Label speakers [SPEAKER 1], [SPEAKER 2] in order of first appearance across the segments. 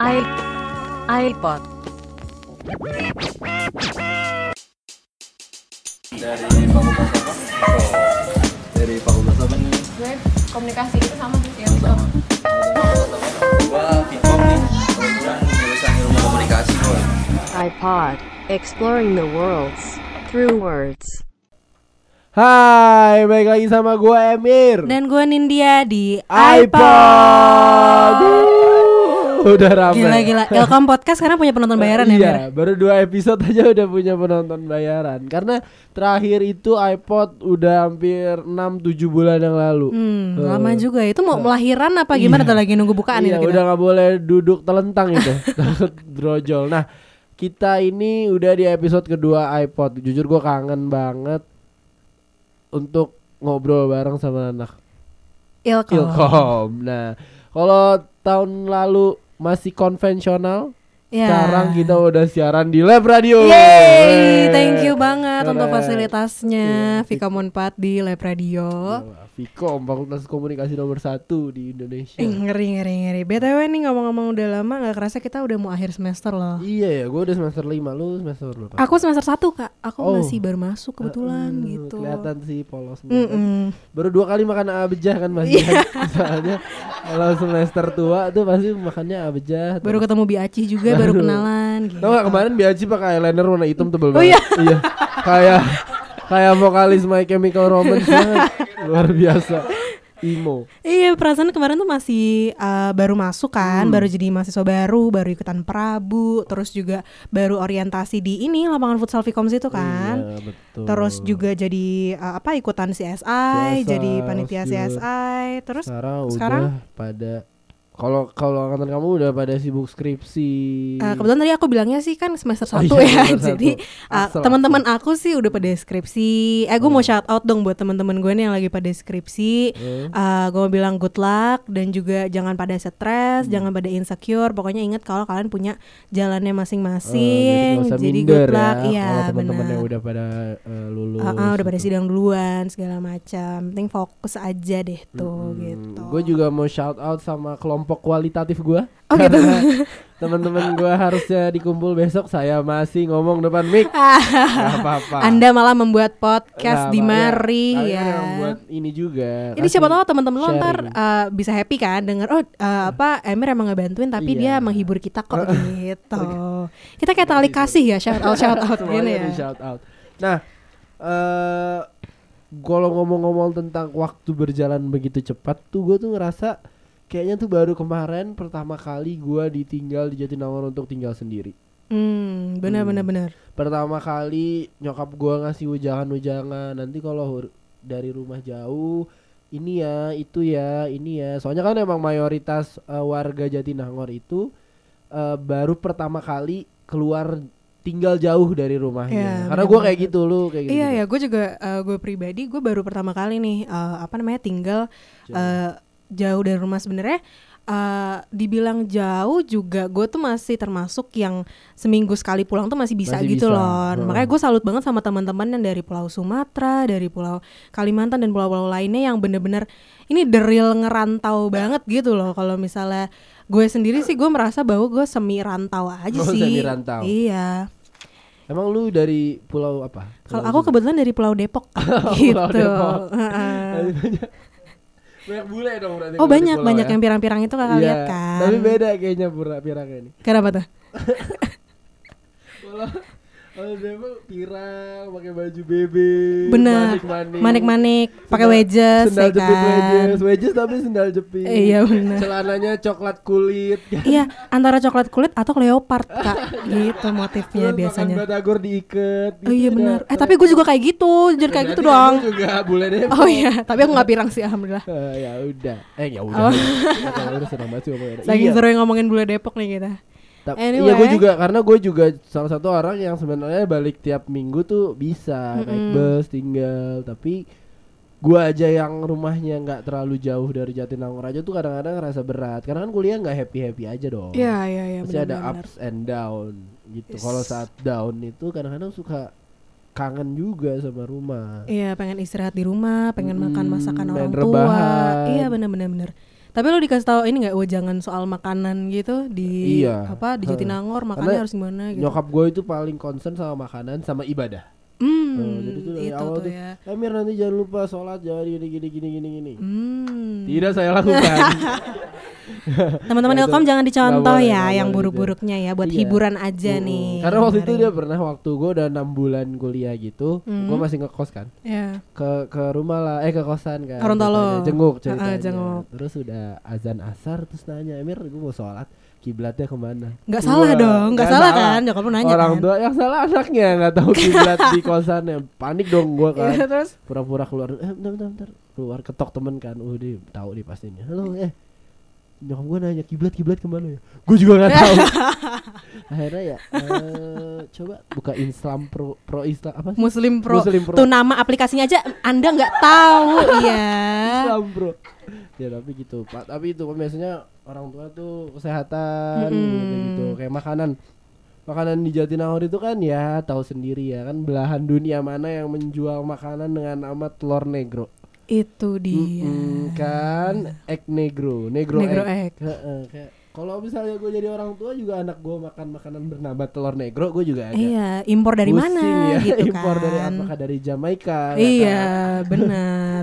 [SPEAKER 1] I iPod
[SPEAKER 2] dari fakultas apa? Dari fakultas apa nih?
[SPEAKER 3] gue komunikasi itu sama sih ya
[SPEAKER 2] Sama. Gua Fikom nih, kebetulan jurusan ilmu komunikasi gua.
[SPEAKER 1] iPod Exploring the worlds through words
[SPEAKER 4] Hai, balik lagi sama gue Emir
[SPEAKER 5] Dan gue Nindya di
[SPEAKER 4] iPod Wuh, Udah rame
[SPEAKER 5] Gila-gila Elkom Podcast sekarang punya penonton bayaran ya Mir?
[SPEAKER 4] Iya, baru dua episode aja udah punya penonton bayaran Karena terakhir itu iPod udah hampir 6-7 bulan yang lalu
[SPEAKER 5] Hmm, lama juga ya. itu mau melahiran apa gimana tuh lagi nunggu bukaan
[SPEAKER 4] Iya,
[SPEAKER 5] itu kita.
[SPEAKER 4] udah nggak boleh duduk telentang itu takut drojol nah kita ini udah di episode kedua iPod jujur gue kangen banget untuk ngobrol bareng sama anak
[SPEAKER 5] Ilkom.
[SPEAKER 4] Ilkom nah kalau tahun lalu masih konvensional
[SPEAKER 5] Ya.
[SPEAKER 4] sekarang kita udah siaran di Lab Radio
[SPEAKER 5] Yeay, thank you banget
[SPEAKER 4] Keren.
[SPEAKER 5] untuk fasilitasnya
[SPEAKER 4] Iya.
[SPEAKER 5] Vika Monpat di Lab Radio.
[SPEAKER 4] Vkom Fakultas Komunikasi nomor satu di Indonesia
[SPEAKER 5] Ih, iya. Ngeri ngeri ngeri. BTW nih ngomong-ngomong udah lama nggak kerasa kita udah mau akhir semester loh.
[SPEAKER 4] iya ya gue udah semester lima lu semester berapa
[SPEAKER 5] Aku semester 1, Kak. Aku
[SPEAKER 4] Oh.
[SPEAKER 5] masih baru masuk kebetulan
[SPEAKER 4] Eh,
[SPEAKER 5] gitu.
[SPEAKER 4] kelihatan sih polosnya
[SPEAKER 5] Mm-mm. Iya.
[SPEAKER 4] baru dua kali makan abejah kan mas soalnya kalau semester tua tuh pasti makannya abejah
[SPEAKER 5] Baru ketemu Bi Acih juga, baru kenalan gitu.
[SPEAKER 4] tau gak kemarin biaji pakai eyeliner warna hitam tebel
[SPEAKER 5] Oh,
[SPEAKER 4] banget iya kayak kayak vokalis My Chemical Romance banget luar biasa emo
[SPEAKER 5] Iya perasaan kemarin tuh masih uh, baru masuk
[SPEAKER 4] Hmm.
[SPEAKER 5] kan, baru jadi mahasiswa baru, baru ikutan Prabu, terus juga baru orientasi di ini lapangan futsal Vkom itu kan.
[SPEAKER 4] Iya, betul
[SPEAKER 5] Terus juga jadi uh, apa ikutan CSI, jadi panitia
[SPEAKER 4] terus juga
[SPEAKER 5] CSI, terus eh,
[SPEAKER 4] sekarang,
[SPEAKER 5] sekarang?
[SPEAKER 4] udah pada kalau kalau angkatan kamu udah pada sibuk skripsi
[SPEAKER 5] uh, kebetulan tadi aku bilangnya sih kan semester
[SPEAKER 4] Oh iya,
[SPEAKER 5] 1 ya.
[SPEAKER 4] semester
[SPEAKER 5] jadi
[SPEAKER 4] satu.
[SPEAKER 5] uh,
[SPEAKER 4] Asal, Oh.
[SPEAKER 5] teman-teman aku sih udah pada skripsi. Eh gue mau shout out dong buat teman-teman gue nih yang lagi pada skripsi.
[SPEAKER 4] Hmm.
[SPEAKER 5] Eh, gue mau bilang good luck dan juga jangan pada
[SPEAKER 4] Hmm.
[SPEAKER 5] stres, jangan pada insecure. Pokoknya ingat kalau kalian punya
[SPEAKER 4] Eh,
[SPEAKER 5] jalannya masing-masing.
[SPEAKER 4] nggak usah
[SPEAKER 5] jadi
[SPEAKER 4] minder
[SPEAKER 5] good luck,
[SPEAKER 4] ya, kalau
[SPEAKER 5] iya
[SPEAKER 4] teman-teman yang
[SPEAKER 5] benar.
[SPEAKER 4] udah pada eh, lulus
[SPEAKER 5] Ah, ah, udah pada
[SPEAKER 4] gitu.
[SPEAKER 5] sidang duluan segala macam. Penting fokus aja deh tuh
[SPEAKER 4] Hmm,
[SPEAKER 5] gitu.
[SPEAKER 4] Gue juga mau shout out sama kelompok kualitatif gue.
[SPEAKER 5] Oh, gitu.
[SPEAKER 4] teman-teman gue harusnya dikumpul besok. Saya masih ngomong depan mic. Gak apa-apa.
[SPEAKER 5] Ah. Anda malah membuat
[SPEAKER 4] Gak
[SPEAKER 5] podcast di
[SPEAKER 4] apa-
[SPEAKER 5] Mari
[SPEAKER 4] Iya, kalian
[SPEAKER 5] ya.
[SPEAKER 4] yang buat ini juga.
[SPEAKER 5] Ini siapa tahu teman-teman lo
[SPEAKER 4] sharing.
[SPEAKER 5] ntar eh, bisa happy kan denger oh eh, apa Emir emang ngebantuin tapi
[SPEAKER 4] Iya.
[SPEAKER 5] dia menghibur kita kok gitu. Kita kayak tali kasih ya shout out shout out
[SPEAKER 4] Semuanya
[SPEAKER 5] gini ya.
[SPEAKER 4] di shout out. Nah, eh kalau ngomong-ngomong tentang waktu berjalan begitu cepat, tuh gue tuh ngerasa kayaknya tuh baru kemarin pertama kali gue ditinggal di Jatinangor untuk tinggal sendiri.
[SPEAKER 5] Hmm, benar benar benar.
[SPEAKER 4] pertama kali nyokap gua ngasih ujangan-ujangan nanti kalau hur- dari rumah jauh ini ya itu ya ini ya soalnya kan emang mayoritas eh, warga Jatinangor itu eh, baru pertama kali keluar tinggal jauh dari rumahnya
[SPEAKER 5] Iya,
[SPEAKER 4] karena
[SPEAKER 5] bener
[SPEAKER 4] gua kayak gitu lu kayak gitu
[SPEAKER 5] Iya ya, gue juga eh, gue pribadi gue baru pertama kali nih eh, apa namanya tinggal eh, jauh dari rumah sebenarnya. eh, dibilang jauh juga gue tuh masih termasuk yang seminggu sekali pulang tuh masih bisa
[SPEAKER 4] Masih
[SPEAKER 5] gitu
[SPEAKER 4] bisa,
[SPEAKER 5] loh
[SPEAKER 4] heeh.
[SPEAKER 5] makanya gue salut banget sama teman-teman yang dari pulau Sumatera dari pulau Kalimantan dan pulau-pulau lainnya yang bener-bener ini the real ngerantau banget gitu loh kalau misalnya gue sendiri sih gue merasa bahwa gue semi rantau aja
[SPEAKER 4] Oh,
[SPEAKER 5] sih
[SPEAKER 4] semi rantau.
[SPEAKER 5] iya
[SPEAKER 4] emang lu dari pulau apa
[SPEAKER 5] kalau
[SPEAKER 4] Pulau
[SPEAKER 5] aku kebetulan dari Pulau Depok gitu.
[SPEAKER 4] Pulau Depok.
[SPEAKER 5] Heeh.
[SPEAKER 4] banyak bule dong berarti
[SPEAKER 5] oh
[SPEAKER 4] kalau di
[SPEAKER 5] banyak
[SPEAKER 4] pulau
[SPEAKER 5] banyak
[SPEAKER 4] ya.
[SPEAKER 5] yang pirang-pirang itu kakak
[SPEAKER 4] Iya,
[SPEAKER 5] lihat kan.
[SPEAKER 4] tapi beda kayaknya pura pirangnya ini
[SPEAKER 5] Kenapa tuh?
[SPEAKER 4] kalau kalau Depok pirang pakai baju bebe
[SPEAKER 5] Benar.
[SPEAKER 4] manik-manik.
[SPEAKER 5] Manik-manik, pakai
[SPEAKER 4] Sendal-
[SPEAKER 5] wedges
[SPEAKER 4] sendal
[SPEAKER 5] ya
[SPEAKER 4] jepit
[SPEAKER 5] kan.
[SPEAKER 4] wedges wedges tapi sendal jepit
[SPEAKER 5] Eh, iya, benar.
[SPEAKER 4] celananya coklat kulit
[SPEAKER 5] Iya, antara coklat kulit atau leopard, Kak. gitu motifnya
[SPEAKER 4] Terus
[SPEAKER 5] biasanya.
[SPEAKER 4] makan batagor diiket
[SPEAKER 5] Oh iya
[SPEAKER 4] gitu
[SPEAKER 5] benar.
[SPEAKER 4] dah.
[SPEAKER 5] Eh tapi gue juga kayak gitu, jujur kayak gitu
[SPEAKER 4] Berarti kamu
[SPEAKER 5] dong.
[SPEAKER 4] Iya, juga boleh deh
[SPEAKER 5] Oh iya, tapi aku nggak pirang sih alhamdulillah.
[SPEAKER 4] Eh, ya udah eh ya udah
[SPEAKER 5] Oh.
[SPEAKER 4] Kata orang senang banget sih ngomongnya.
[SPEAKER 5] Lagi
[SPEAKER 4] Iya.
[SPEAKER 5] seru yang ngomongin bule Depok nih kita.
[SPEAKER 4] Ta-
[SPEAKER 5] Anyway.
[SPEAKER 4] Iya gue juga karena gue juga salah satu orang yang sebenarnya balik tiap minggu tuh bisa naik
[SPEAKER 5] Mm-mm.
[SPEAKER 4] bus tinggal tapi gue aja yang rumahnya nggak terlalu jauh dari Jatinangor aja tuh kadang-kadang ngerasa berat karena kan kuliah nggak happy happy aja dong.
[SPEAKER 5] Iya iya iya.
[SPEAKER 4] Pasti ada
[SPEAKER 5] benar-benar.
[SPEAKER 4] ups and down gitu.
[SPEAKER 5] Yes.
[SPEAKER 4] Kalau saat down itu kadang-kadang suka kangen juga sama rumah.
[SPEAKER 5] Iya pengen istirahat Iya, di rumah, pengen makan
[SPEAKER 4] Mm,
[SPEAKER 5] masakan
[SPEAKER 4] main
[SPEAKER 5] orang
[SPEAKER 4] rebahan.
[SPEAKER 5] tua. Iya benar-benar benar. Tapi lu dikasih tahu ini nggak, oh jangan soal makanan gitu di
[SPEAKER 4] Iya.
[SPEAKER 5] apa di
[SPEAKER 4] Heeh.
[SPEAKER 5] Jatinangor makannya
[SPEAKER 4] Karena
[SPEAKER 5] harus gimana gitu.
[SPEAKER 4] Nyokap gue itu paling concern sama makanan sama ibadah.
[SPEAKER 5] Hmm,
[SPEAKER 4] Tuh, Oh, jadi tuh dari
[SPEAKER 5] itu
[SPEAKER 4] awal
[SPEAKER 5] tuh
[SPEAKER 4] tuh,
[SPEAKER 5] ya.
[SPEAKER 4] "Eh, Mir nanti jangan lupa sholat jangan gini gini gini gini gini.
[SPEAKER 5] Hmm.
[SPEAKER 4] Tidak saya lakukan.
[SPEAKER 5] Teman-teman
[SPEAKER 4] Ya, itu
[SPEAKER 5] Ilkom jangan dicontoh
[SPEAKER 4] boleh,
[SPEAKER 5] ya
[SPEAKER 4] nggak
[SPEAKER 5] yang
[SPEAKER 4] boleh
[SPEAKER 5] buruk-buruknya ya buat
[SPEAKER 4] Iya.
[SPEAKER 5] hiburan aja
[SPEAKER 4] Mm-mm.
[SPEAKER 5] nih.
[SPEAKER 4] Karena waktu itu dia
[SPEAKER 5] kemarin.
[SPEAKER 4] pernah waktu gue udah enam bulan kuliah gitu,
[SPEAKER 5] Mm.
[SPEAKER 4] gue masih ngekos kan.
[SPEAKER 5] ya.
[SPEAKER 4] Ke ke rumah lah, eh ke kosan kan.
[SPEAKER 5] Gorontalo.
[SPEAKER 4] ceritanya. Jenguk
[SPEAKER 5] Ah, ah,
[SPEAKER 4] ceritanya.
[SPEAKER 5] jenguk.
[SPEAKER 4] Terus udah azan asar terus nanya, Emir gue mau sholat, kiblatnya kemana?
[SPEAKER 5] Nggak
[SPEAKER 4] Gua,
[SPEAKER 5] salah dong, nggak salah kan? Nyokap lu nanya
[SPEAKER 4] Orang
[SPEAKER 5] kan.
[SPEAKER 4] tua yang salah anaknya nggak tahu kiblat di kosannya, panik dong gue kan.
[SPEAKER 5] Iya, terus
[SPEAKER 4] pura-pura keluar eh bentar bentar bentar keluar ketok temen kan uh dia tahu dia pasti nih halo eh nyokap gue nanya kiblat kiblat kemana ya gue juga nggak tahu akhirnya ya eh, coba buka Islam pro pro Islam apa sih
[SPEAKER 5] Muslim Pro.
[SPEAKER 4] Muslim Pro.
[SPEAKER 5] Tuh nama aplikasinya aja Anda nggak tahu ya.
[SPEAKER 4] Islam bro ya tapi gitu pak tapi itu biasanya orang tua tuh kesehatan gitu, gitu kayak makanan makanan di Jatinangor itu kan ya tahu sendiri ya kan belahan dunia mana yang menjual makanan dengan nama telur negro
[SPEAKER 5] Itu dia.
[SPEAKER 4] Mm, kan egg negro, negro,
[SPEAKER 5] Iya. Negro egg.
[SPEAKER 4] Heeh, kayak kalau misalnya gue jadi orang tua juga anak gue makan makanan bernama telur negro, gue juga agak
[SPEAKER 5] Iya, impor dari
[SPEAKER 4] pusing
[SPEAKER 5] mana
[SPEAKER 4] ya,
[SPEAKER 5] gitu
[SPEAKER 4] impor
[SPEAKER 5] kan.
[SPEAKER 4] dari apakah dari Jamaika? nggak
[SPEAKER 5] Iya,
[SPEAKER 4] tahu.
[SPEAKER 5] benar.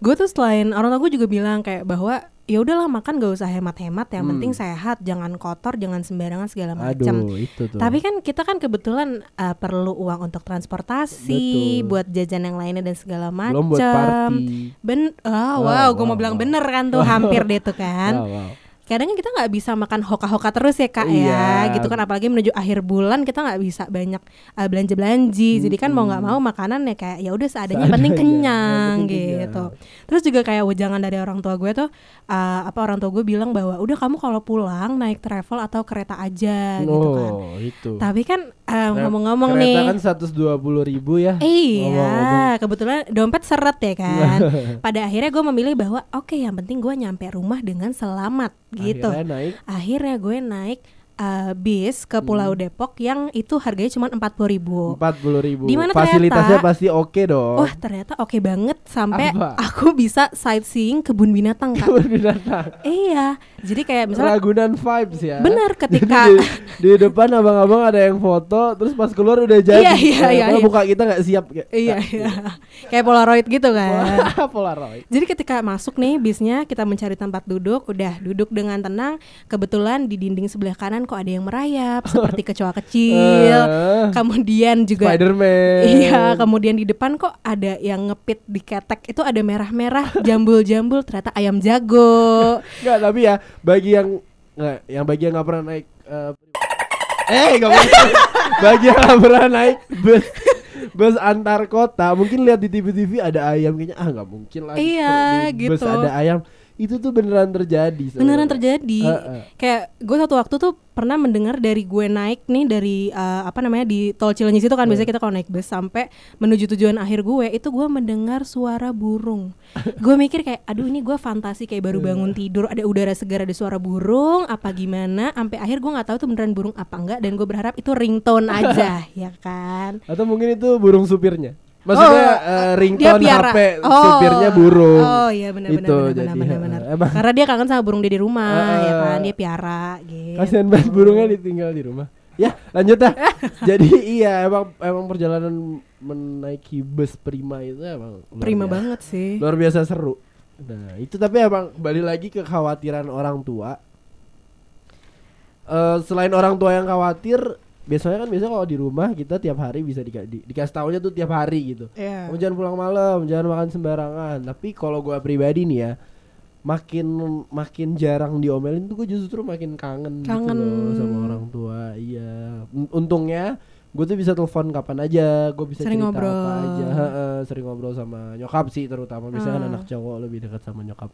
[SPEAKER 5] Gue tuh selain orang tua gue juga bilang kayak bahwa ya udahlah makan gak usah hemat-hemat yang penting sehat, jangan kotor, jangan sembarangan segala macam.
[SPEAKER 4] Hmm. Aduh, itu tuh.
[SPEAKER 5] Tapi kan kita kan kebetulan uh, perlu uang untuk transportasi,
[SPEAKER 4] Betul.
[SPEAKER 5] buat jajan yang lainnya dan segala macam.
[SPEAKER 4] belum buat party.
[SPEAKER 5] Ben, ah, wow,
[SPEAKER 4] Wow,
[SPEAKER 5] gue mau
[SPEAKER 4] wow,
[SPEAKER 5] bilang
[SPEAKER 4] wow.
[SPEAKER 5] bener kan tuh hampir deh tuh kan.
[SPEAKER 4] Wow, wow.
[SPEAKER 5] Kadang kan kita nggak bisa makan hoka-hoka terus ya kak
[SPEAKER 4] Iya.
[SPEAKER 5] ya, gitu kan. Apalagi menuju akhir bulan kita nggak bisa banyak uh, belanja-belanji. Jadi kan mau nggak mau makanan ya kayak ya udah seadanya, yang penting
[SPEAKER 4] Seadanya,
[SPEAKER 5] kenyang
[SPEAKER 4] yang penting kenyang.
[SPEAKER 5] gitu. Terus juga kayak wejangan dari orang tua gue tuh uh, apa orang tua gue bilang bahwa udah kamu kalau pulang naik travel atau kereta aja gitu kan.
[SPEAKER 4] Oh, itu.
[SPEAKER 5] Tapi kan uh,
[SPEAKER 4] Nah,
[SPEAKER 5] ngomong-ngomong
[SPEAKER 4] kereta
[SPEAKER 5] nih. Eh,
[SPEAKER 4] kan 120 ribu ya. Ngomong-ngomong.
[SPEAKER 5] Iya, kebetulan dompet seret ya kan. Pada akhirnya gue memilih bahwa oke yang penting gue nyampe rumah dengan selamat gitu.
[SPEAKER 4] Akhirnya naik
[SPEAKER 5] Akhirnya gue naik eh, bis ke Pulau
[SPEAKER 4] Hmm.
[SPEAKER 5] Depok yang itu harganya cuma empat puluh ribu.
[SPEAKER 4] 40 ribu.
[SPEAKER 5] Di mana
[SPEAKER 4] Fasilitasnya
[SPEAKER 5] ternyata-
[SPEAKER 4] pasti oke dong.
[SPEAKER 5] Wah ternyata oke banget sampai
[SPEAKER 4] Apa?
[SPEAKER 5] aku bisa sightseeing kebun binatang kak.
[SPEAKER 4] Kebun binatang.
[SPEAKER 5] iya, jadi kayak misalnya
[SPEAKER 4] Ragunan vibes ya.
[SPEAKER 5] Benar,
[SPEAKER 4] Jadi
[SPEAKER 5] ketika-
[SPEAKER 4] di, di depan abang-abang ada yang foto, terus pas keluar udah jadi.
[SPEAKER 5] Iya, iya,
[SPEAKER 4] Nah,
[SPEAKER 5] iya,
[SPEAKER 4] padahal
[SPEAKER 5] iya.
[SPEAKER 4] Muka kita nggak siap. kayak,
[SPEAKER 5] iya, iya. kayak Polaroid gitu kan.
[SPEAKER 4] Wah, Polaroid.
[SPEAKER 5] Jadi ketika masuk nih bisnya kita mencari tempat duduk, udah duduk dengan tenang. Kebetulan di dinding sebelah kanan kok ada yang merayap seperti kecoa kecil.
[SPEAKER 4] Eh,
[SPEAKER 5] Kemudian juga
[SPEAKER 4] Spiderman.
[SPEAKER 5] Iya, kemudian di depan kok ada yang ngepit di ketek itu ada merah-merah, jambul-jambul ternyata ayam jago.
[SPEAKER 4] Nggak, tapi ya bagi yang nggak, yang bagi yang nggak pernah naik. eh, eh, nggak boleh. bagi yang nggak pernah naik bus bus antar kota, mungkin lihat di TV-TV ada ayam kayaknya ah nggak mungkin lah.
[SPEAKER 5] Iya,
[SPEAKER 4] di Bus
[SPEAKER 5] gitu.
[SPEAKER 4] ada ayam. Itu tuh beneran terjadi.
[SPEAKER 5] Beneran
[SPEAKER 4] sebenarnya.
[SPEAKER 5] terjadi.
[SPEAKER 4] Heeh.
[SPEAKER 5] Kayak gue satu waktu tuh pernah mendengar dari gue naik nih dari eh, apa namanya di tol Cilenyi situ kan biasanya kita kalau naik bus sampai menuju tujuan akhir gue itu gue mendengar suara burung. gue mikir kayak aduh ini gue fantasi kayak baru bangun tidur ada udara segar ada suara burung apa gimana sampai akhir gue nggak tahu itu beneran burung apa enggak dan gue berharap itu ringtone aja ya kan.
[SPEAKER 4] Atau mungkin itu burung supirnya. Maksudnya
[SPEAKER 5] Oh,
[SPEAKER 4] eh,
[SPEAKER 5] dia
[SPEAKER 4] ringtone
[SPEAKER 5] piara.
[SPEAKER 4] HP
[SPEAKER 5] Oh.
[SPEAKER 4] supirnya burung.
[SPEAKER 5] Oh iya benar benar
[SPEAKER 4] Itu
[SPEAKER 5] benar,
[SPEAKER 4] jadi,
[SPEAKER 5] benar
[SPEAKER 4] eh,
[SPEAKER 5] benar.
[SPEAKER 4] emang
[SPEAKER 5] Karena dia kangen sama burung dia di rumah
[SPEAKER 4] Eh,
[SPEAKER 5] ya kan dia piara gitu.
[SPEAKER 4] kasihan banget burungnya ditinggal di rumah. Ya, lanjut dah. jadi iya emang emang perjalanan menaiki bus prima itu emang luar
[SPEAKER 5] Prima
[SPEAKER 4] biasa.
[SPEAKER 5] banget sih.
[SPEAKER 4] Luar biasa seru. Nah, itu tapi emang kembali lagi ke kekhawatiran orang tua. Eh selain orang tua yang khawatir, biasanya kan biasanya kalau di rumah kita tiap hari bisa dika- di- dikasih tahunya tuh tiap hari gitu.
[SPEAKER 5] Iya.
[SPEAKER 4] Kamu jangan pulang malam, jangan makan sembarangan. Tapi kalau gua pribadi nih ya, makin makin jarang diomelin tuh gue justru makin kangen,
[SPEAKER 5] Kangen.
[SPEAKER 4] gitu loh sama orang tua. Iya. Un- Untungnya gue tuh bisa telepon kapan aja, gue bisa
[SPEAKER 5] Sering
[SPEAKER 4] cerita
[SPEAKER 5] ngobrol.
[SPEAKER 4] apa aja. Heeh, sering ngobrol sama nyokap sih terutama. Biasanya kan
[SPEAKER 5] Ah.
[SPEAKER 4] anak cowok lebih dekat sama nyokap.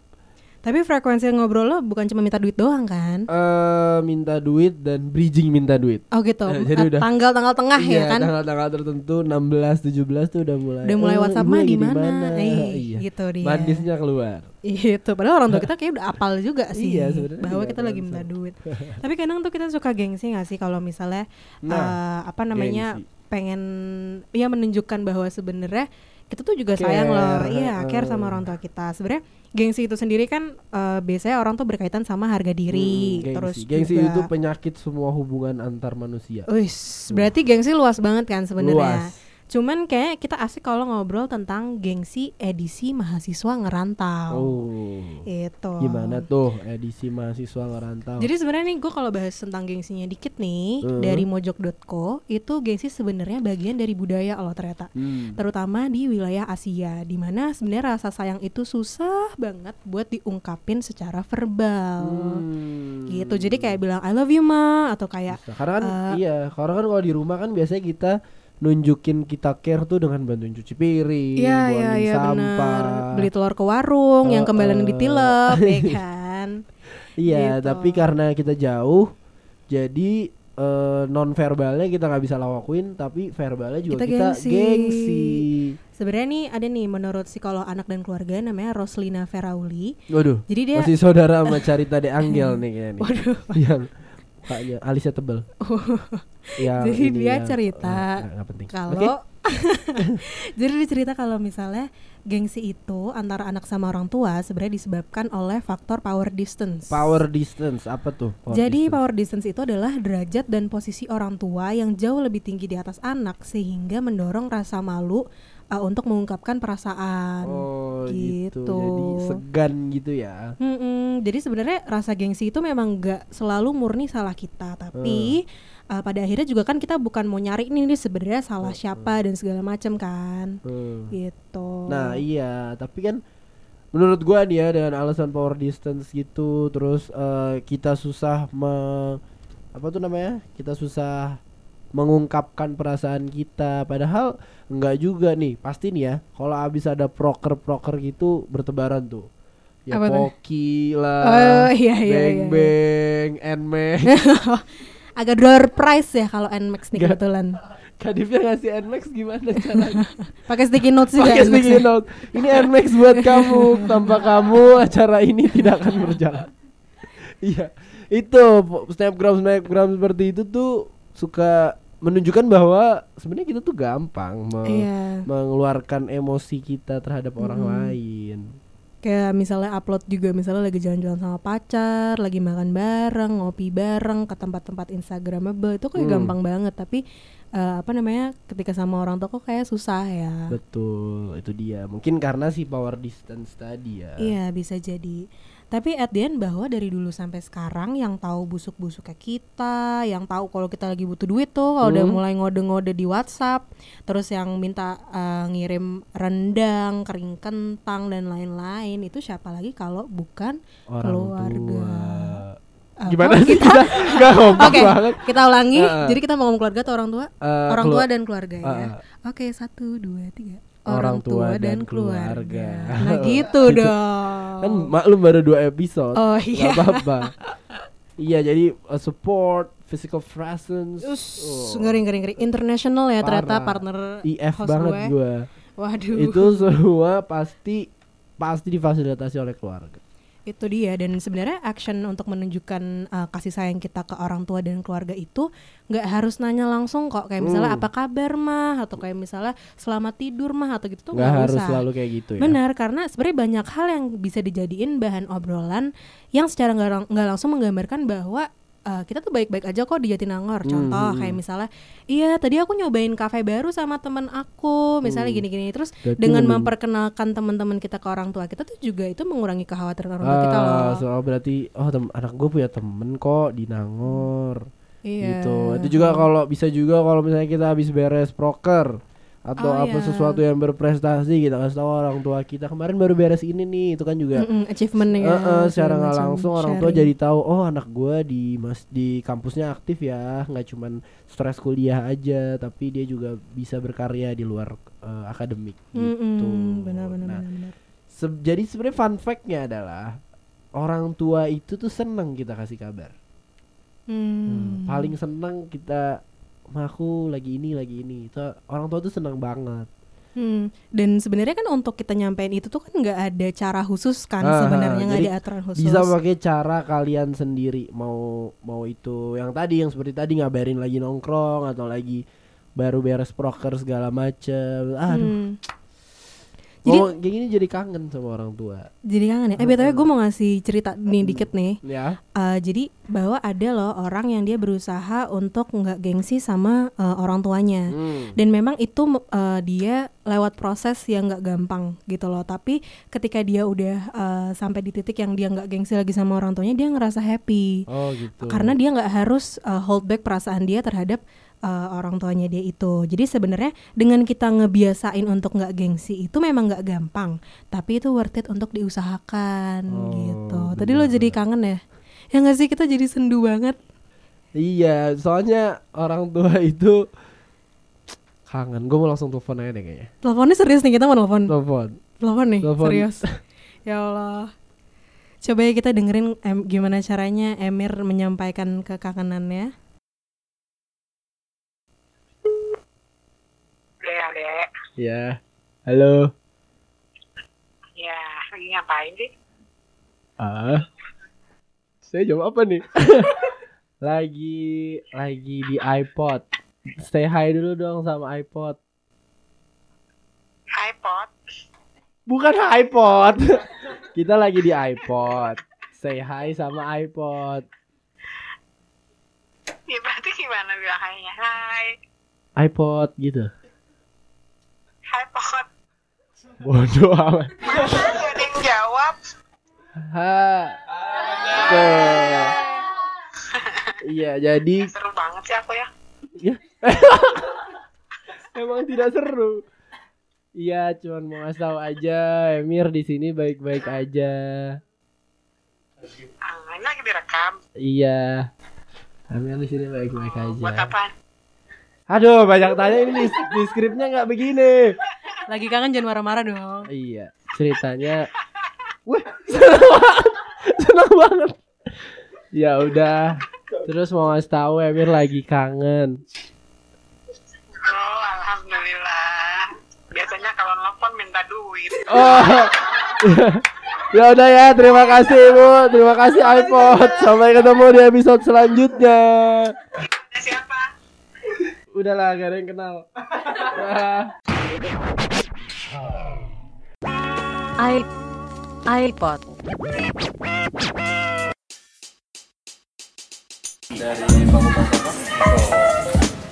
[SPEAKER 5] Tapi frekuensi ngobrol lo bukan cuma minta duit doang kan?
[SPEAKER 4] Eh minta duit dan bridging minta duit.
[SPEAKER 5] Oh gitu.
[SPEAKER 4] Eh, jadi
[SPEAKER 5] Eh,
[SPEAKER 4] udah.
[SPEAKER 5] Tanggal-tanggal tengah
[SPEAKER 4] Iya,
[SPEAKER 5] ya kan?
[SPEAKER 4] tanggal-tanggal tertentu 16 17 tuh udah mulai.
[SPEAKER 5] Udah mulai
[SPEAKER 4] "Eh,
[SPEAKER 5] WhatsApp
[SPEAKER 4] ibu
[SPEAKER 5] mah
[SPEAKER 4] lagi
[SPEAKER 5] di mana?" Eh,
[SPEAKER 4] Iya.
[SPEAKER 5] gitu dia.
[SPEAKER 4] Manisnya keluar.
[SPEAKER 5] Gitu. Padahal orang tua kita kayak udah apal juga sih
[SPEAKER 4] Iya, sebenarnya
[SPEAKER 5] bahwa
[SPEAKER 4] juga
[SPEAKER 5] kita lagi minta
[SPEAKER 4] apal.
[SPEAKER 5] duit. Tapi kadang tuh kita suka gengsi gak sih kalau misalnya
[SPEAKER 4] Nah,
[SPEAKER 5] eh, apa namanya
[SPEAKER 4] gengsi.
[SPEAKER 5] pengen ya menunjukkan bahwa sebenarnya kita tuh juga
[SPEAKER 4] Care, eh.
[SPEAKER 5] sayang loh iya
[SPEAKER 4] heeh.
[SPEAKER 5] care sama orang tua kita sebenarnya gengsi itu sendiri kan eh, biasanya orang tuh berkaitan sama harga diri
[SPEAKER 4] Hmm, gengsi.
[SPEAKER 5] terus
[SPEAKER 4] gengsi
[SPEAKER 5] juga,
[SPEAKER 4] itu penyakit semua hubungan antar manusia.
[SPEAKER 5] Uish, berarti gengsi luas banget kan sebenarnya
[SPEAKER 4] Luas.
[SPEAKER 5] cuman kayak kita asik kalau ngobrol tentang gengsi edisi mahasiswa ngerantau Gitu.
[SPEAKER 4] Oh.
[SPEAKER 5] itu
[SPEAKER 4] Gimana tuh edisi mahasiswa ngerantau?
[SPEAKER 5] Jadi sebenarnya nih gue kalau bahas tentang gengsinya dikit nih
[SPEAKER 4] Hmm.
[SPEAKER 5] dari mojok.co itu gengsi sebenarnya bagian dari budaya loh ternyata.
[SPEAKER 4] Hmm.
[SPEAKER 5] Terutama di wilayah Asia di mana sebenarnya rasa sayang itu susah banget buat diungkapin secara verbal.
[SPEAKER 4] Hmm.
[SPEAKER 5] Gitu. Jadi kayak bilang I love you ma atau kayak
[SPEAKER 4] Nah, karena kan
[SPEAKER 5] eh,
[SPEAKER 4] iya, karena kan kalau di rumah kan biasanya kita nunjukin kita care tuh dengan bantuin cuci piring,
[SPEAKER 5] Iya iya
[SPEAKER 4] buangin
[SPEAKER 5] iya
[SPEAKER 4] sampah.
[SPEAKER 5] benar. Beli telur ke warung
[SPEAKER 4] Eh,
[SPEAKER 5] yang kembalian
[SPEAKER 4] eh.
[SPEAKER 5] ditilep ya kan.
[SPEAKER 4] Iya,
[SPEAKER 5] Gitu.
[SPEAKER 4] tapi karena kita jauh, jadi non verbalnya kita nggak bisa lawakuin, tapi verbalnya juga
[SPEAKER 5] Kita
[SPEAKER 4] kita,
[SPEAKER 5] gengsi. Sebenarnya nih ada nih menurut psikolog anak dan keluarga namanya Roslina Ferauli.
[SPEAKER 4] Waduh,
[SPEAKER 5] Jadi dia
[SPEAKER 4] masih saudara sama Carita de Angel nih kayaknya nih.
[SPEAKER 5] Waduh. Oh.
[SPEAKER 4] Yang mukanya alisnya tebel. Yang
[SPEAKER 5] Jadi
[SPEAKER 4] ini,
[SPEAKER 5] dia
[SPEAKER 4] yang-
[SPEAKER 5] cerita
[SPEAKER 4] eh, nggak- nggak penting.
[SPEAKER 5] kalau
[SPEAKER 4] Oke.
[SPEAKER 5] jadi dicerita kalau misalnya gengsi itu antara anak sama orang tua sebenarnya disebabkan oleh faktor power distance.
[SPEAKER 4] Power distance apa tuh? Power
[SPEAKER 5] Jadi
[SPEAKER 4] distance.
[SPEAKER 5] power distance itu adalah derajat dan posisi orang tua yang jauh lebih tinggi di atas anak sehingga mendorong rasa malu uh, untuk mengungkapkan perasaan.
[SPEAKER 4] Oh gitu.
[SPEAKER 5] gitu.
[SPEAKER 4] Jadi segan gitu ya.
[SPEAKER 5] Mm-mm. Jadi sebenarnya rasa gengsi itu memang nggak selalu murni salah kita, tapi uh, pada akhirnya juga kan kita bukan mau nyari ini nih sebenarnya salah siapa dan segala macam kan,
[SPEAKER 4] Hmm.
[SPEAKER 5] gitu.
[SPEAKER 4] Nah iya, tapi kan menurut gua nih ya dengan alasan power distance gitu, terus eh, kita susah me- apa tuh namanya? Kita susah mengungkapkan perasaan kita. Padahal enggak juga nih, pasti nih ya. Kalau abis ada proker-proker gitu bertebaran tuh. Ya
[SPEAKER 5] Apa tuh?
[SPEAKER 4] Poki lah,
[SPEAKER 5] Oh, iya, iya,
[SPEAKER 4] Beng
[SPEAKER 5] iya,
[SPEAKER 4] Beng, Nmax.
[SPEAKER 5] agak door price ya kalau Nmax nih
[SPEAKER 4] Nggak.
[SPEAKER 5] kebetulan.
[SPEAKER 4] Kadifnya ngasih Nmax gimana caranya?
[SPEAKER 5] Pakai sticky notes juga.
[SPEAKER 4] Pakai
[SPEAKER 5] Nmax
[SPEAKER 4] sticky
[SPEAKER 5] ya.
[SPEAKER 4] note. Ini NMAX buat kamu. Tanpa kamu acara ini tidak akan berjalan. Iya, itu po- snapgram snapgram seperti itu tuh suka menunjukkan bahwa sebenarnya kita tuh gampang me-
[SPEAKER 5] Iya.
[SPEAKER 4] mengeluarkan emosi kita terhadap orang lain.
[SPEAKER 5] Kayak misalnya upload juga misalnya lagi jalan-jalan sama pacar, lagi makan bareng, ngopi bareng ke tempat-tempat instagramable itu kayak
[SPEAKER 4] Hmm.
[SPEAKER 5] gampang banget tapi eh, apa namanya ketika sama orang tua kok kayak susah ya.
[SPEAKER 4] Betul, itu dia. Mungkin karena si power distance tadi ya.
[SPEAKER 5] Iya bisa jadi. Tapi at the end bahwa dari dulu sampai sekarang yang tahu busuk-busuknya kita, yang tahu kalau kita lagi butuh duit tuh kalau udah
[SPEAKER 4] Hmm.
[SPEAKER 5] mulai ngode-ngode di WhatsApp, terus yang minta eh, ngirim rendang, kering kentang dan lain-lain itu siapa lagi kalau bukan
[SPEAKER 4] Orang
[SPEAKER 5] keluarga.
[SPEAKER 4] tua.
[SPEAKER 5] Eh,
[SPEAKER 4] Gimana
[SPEAKER 5] kok
[SPEAKER 4] sih
[SPEAKER 5] kita?
[SPEAKER 4] kita? Gak kompak
[SPEAKER 5] Oke,
[SPEAKER 4] banget.
[SPEAKER 5] kita
[SPEAKER 4] Eh,
[SPEAKER 5] ulangi.
[SPEAKER 4] eh.
[SPEAKER 5] Jadi kita mau ngomong keluarga atau orang tua?
[SPEAKER 4] Eh,
[SPEAKER 5] orang
[SPEAKER 4] kelu-
[SPEAKER 5] tua dan keluarga
[SPEAKER 4] Eh,
[SPEAKER 5] ya.
[SPEAKER 4] eh.
[SPEAKER 5] Oke, satu, dua, tiga.
[SPEAKER 4] Orang tua dan keluarga.
[SPEAKER 5] Nah gitu
[SPEAKER 4] Gitu.
[SPEAKER 5] dong.
[SPEAKER 4] Kan maklum baru dua episode.
[SPEAKER 5] Oh
[SPEAKER 4] Gak
[SPEAKER 5] iya.
[SPEAKER 4] apa-apa. iya, jadi uh, support, physical presence.
[SPEAKER 5] Ush,
[SPEAKER 4] Oh,
[SPEAKER 5] ngeri ngeri ngeri international ya ternyata
[SPEAKER 4] parah.
[SPEAKER 5] partner
[SPEAKER 4] IF
[SPEAKER 5] host
[SPEAKER 4] banget
[SPEAKER 5] gue.
[SPEAKER 4] gue.
[SPEAKER 5] Waduh. Itu
[SPEAKER 4] Itu semua pasti pasti difasilitasi oleh keluarga.
[SPEAKER 5] dia dan sebenarnya action untuk menunjukkan uh, kasih sayang kita ke orang tua dan keluarga itu nggak harus nanya langsung kok kayak misalnya
[SPEAKER 4] Hmm.
[SPEAKER 5] apa kabar mah atau kayak misalnya selamat tidur mah atau gitu tuh
[SPEAKER 4] Nggak
[SPEAKER 5] nggak
[SPEAKER 4] harus
[SPEAKER 5] usah.
[SPEAKER 4] selalu kayak gitu ya.
[SPEAKER 5] Benar, karena sebenarnya banyak hal yang bisa dijadiin bahan obrolan yang secara nggak lang- nggak langsung menggambarkan bahwa eh, kita tuh baik-baik aja kok di Jatinangor. Contoh
[SPEAKER 4] Hmm.
[SPEAKER 5] kayak misalnya, iya tadi aku nyobain kafe baru sama teman aku, misalnya
[SPEAKER 4] Hmm.
[SPEAKER 5] gini-gini. Terus
[SPEAKER 4] Betul.
[SPEAKER 5] dengan memperkenalkan teman-teman kita ke orang tua kita tuh juga itu mengurangi kekhawatiran orang tua kita loh.
[SPEAKER 4] Ah, soal berarti oh tem- anak gue punya temen kok di Nangor
[SPEAKER 5] Iya.
[SPEAKER 4] gitu itu juga kalau bisa juga kalau misalnya kita habis beres proker atau
[SPEAKER 5] Oh,
[SPEAKER 4] apa
[SPEAKER 5] iya.
[SPEAKER 4] sesuatu yang berprestasi kita kasih tahu orang tua kita kemarin baru beres ini nih itu kan juga
[SPEAKER 5] Mm-mm, achievement ya.
[SPEAKER 4] Eh, eh, secara
[SPEAKER 5] segala
[SPEAKER 4] nggak
[SPEAKER 5] macam,
[SPEAKER 4] langsung orang tua
[SPEAKER 5] sharing.
[SPEAKER 4] jadi tahu oh anak gue di mas di kampusnya aktif ya nggak cuman stres kuliah aja tapi dia juga bisa berkarya di luar eh, akademik gitu
[SPEAKER 5] Mm-mm, benar-benar
[SPEAKER 4] Nah,
[SPEAKER 5] benar-benar.
[SPEAKER 4] se- jadi sebenarnya fun factnya adalah orang tua itu tuh seneng kita kasih kabar
[SPEAKER 5] Hmm.
[SPEAKER 4] paling seneng kita "Ma, aku lagi ini lagi ini itu orang tua tuh seneng banget
[SPEAKER 5] Hmm, dan sebenarnya kan untuk kita nyampein itu tuh kan nggak ada cara khusus kan
[SPEAKER 4] Ah,
[SPEAKER 5] sebenarnya nggak
[SPEAKER 4] jadi
[SPEAKER 5] ada aturan khusus.
[SPEAKER 4] bisa pakai cara kalian sendiri mau mau itu yang tadi yang seperti tadi ngabarin lagi nongkrong atau lagi baru beres proker segala macem aduh
[SPEAKER 5] Hmm. Jadi-
[SPEAKER 4] Ngomong kayak gini jadi kangen sama orang tua.
[SPEAKER 5] Jadi kangen ya. Eh btw gue mau ngasih cerita nih dikit nih.
[SPEAKER 4] Ya.
[SPEAKER 5] Eh, jadi bahwa ada loh orang yang dia berusaha untuk nggak gengsi sama eh, orang tuanya.
[SPEAKER 4] Hmm.
[SPEAKER 5] Dan memang itu me- eh, dia lewat proses yang nggak gampang gitu loh. Tapi ketika dia udah eh, sampai di titik yang dia nggak gengsi lagi sama orang tuanya, dia ngerasa happy.
[SPEAKER 4] Oh gitu.
[SPEAKER 5] Karena dia nggak harus eh, hold back perasaan dia terhadap eh, orang tuanya dia itu. Jadi sebenarnya dengan kita ngebiasain untuk nggak gengsi itu memang nggak gampang. Tapi itu worth it untuk diusahakan
[SPEAKER 4] Oh,
[SPEAKER 5] gitu. Tadi lo jadi kangen ya? Ya nggak sih kita jadi sendu banget.
[SPEAKER 4] Iya, soalnya orang tua itu kangen. Gue mau langsung telepon aja deh kayaknya.
[SPEAKER 5] Teleponnya serius nih kita mau telepon.
[SPEAKER 4] Telepon.
[SPEAKER 5] Telepon nih,
[SPEAKER 4] Telepon.
[SPEAKER 5] serius. ya Allah. Coba ya kita dengerin em- gimana caranya Emir menyampaikan kekangenannya.
[SPEAKER 6] Iya, Dek.
[SPEAKER 4] Ya. Halo.
[SPEAKER 6] Ya, lagi ngapain sih?
[SPEAKER 4] Ah. Saya jawab apa nih? lagi lagi di iPod. Stay high dulu dong sama iPod.
[SPEAKER 6] iPod.
[SPEAKER 4] Bukan iPod. Kita lagi di iPod. Say hi sama iPod.
[SPEAKER 6] Ya, berarti gimana bilang hai-nya? Hai,
[SPEAKER 4] iPod gitu.
[SPEAKER 6] iPod.
[SPEAKER 4] Bodoh amat.
[SPEAKER 6] Masa gak ada yang jawab?
[SPEAKER 4] Ha. Tuh. Iya, jadi
[SPEAKER 6] Seru banget sih aku ya.
[SPEAKER 4] ya. Emang tidak seru. Iya, cuman mau ngasih tahu aja Emir di sini baik-baik aja.
[SPEAKER 6] Ah, ini lagi direkam.
[SPEAKER 4] Iya. Emir di sini baik-baik aja.
[SPEAKER 6] Buat apaan?
[SPEAKER 4] Aduh, banyak tanya ini di, di skripnya nggak begini.
[SPEAKER 5] Lagi kangen jangan marah-marah dong.
[SPEAKER 4] Iya, ceritanya. Wih, seneng banget. Seneng banget. Ya udah. Terus mau ngasih tahu Emir lagi kangen.
[SPEAKER 6] Oh, alhamdulillah. Biasanya kalau nelfon minta duit.
[SPEAKER 4] Oh. ya udah ya, terima kasih Bu. Terima kasih iPod. Sampai ketemu di episode selanjutnya.
[SPEAKER 6] Ini siapa?
[SPEAKER 4] Udahlah, gak ada yang kenal. Nah.
[SPEAKER 1] I iPod.
[SPEAKER 2] dari fakultas apa?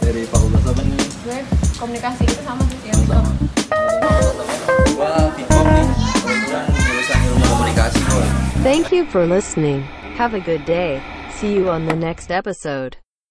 [SPEAKER 2] Dari fakultas apa nih?
[SPEAKER 3] gue komunikasi itu sama sih ya so.
[SPEAKER 2] Gua Fitkom nih, kebetulan jurusan ilmu komunikasi gua.
[SPEAKER 1] Thank you for listening. Have a good day. See you on the next episode.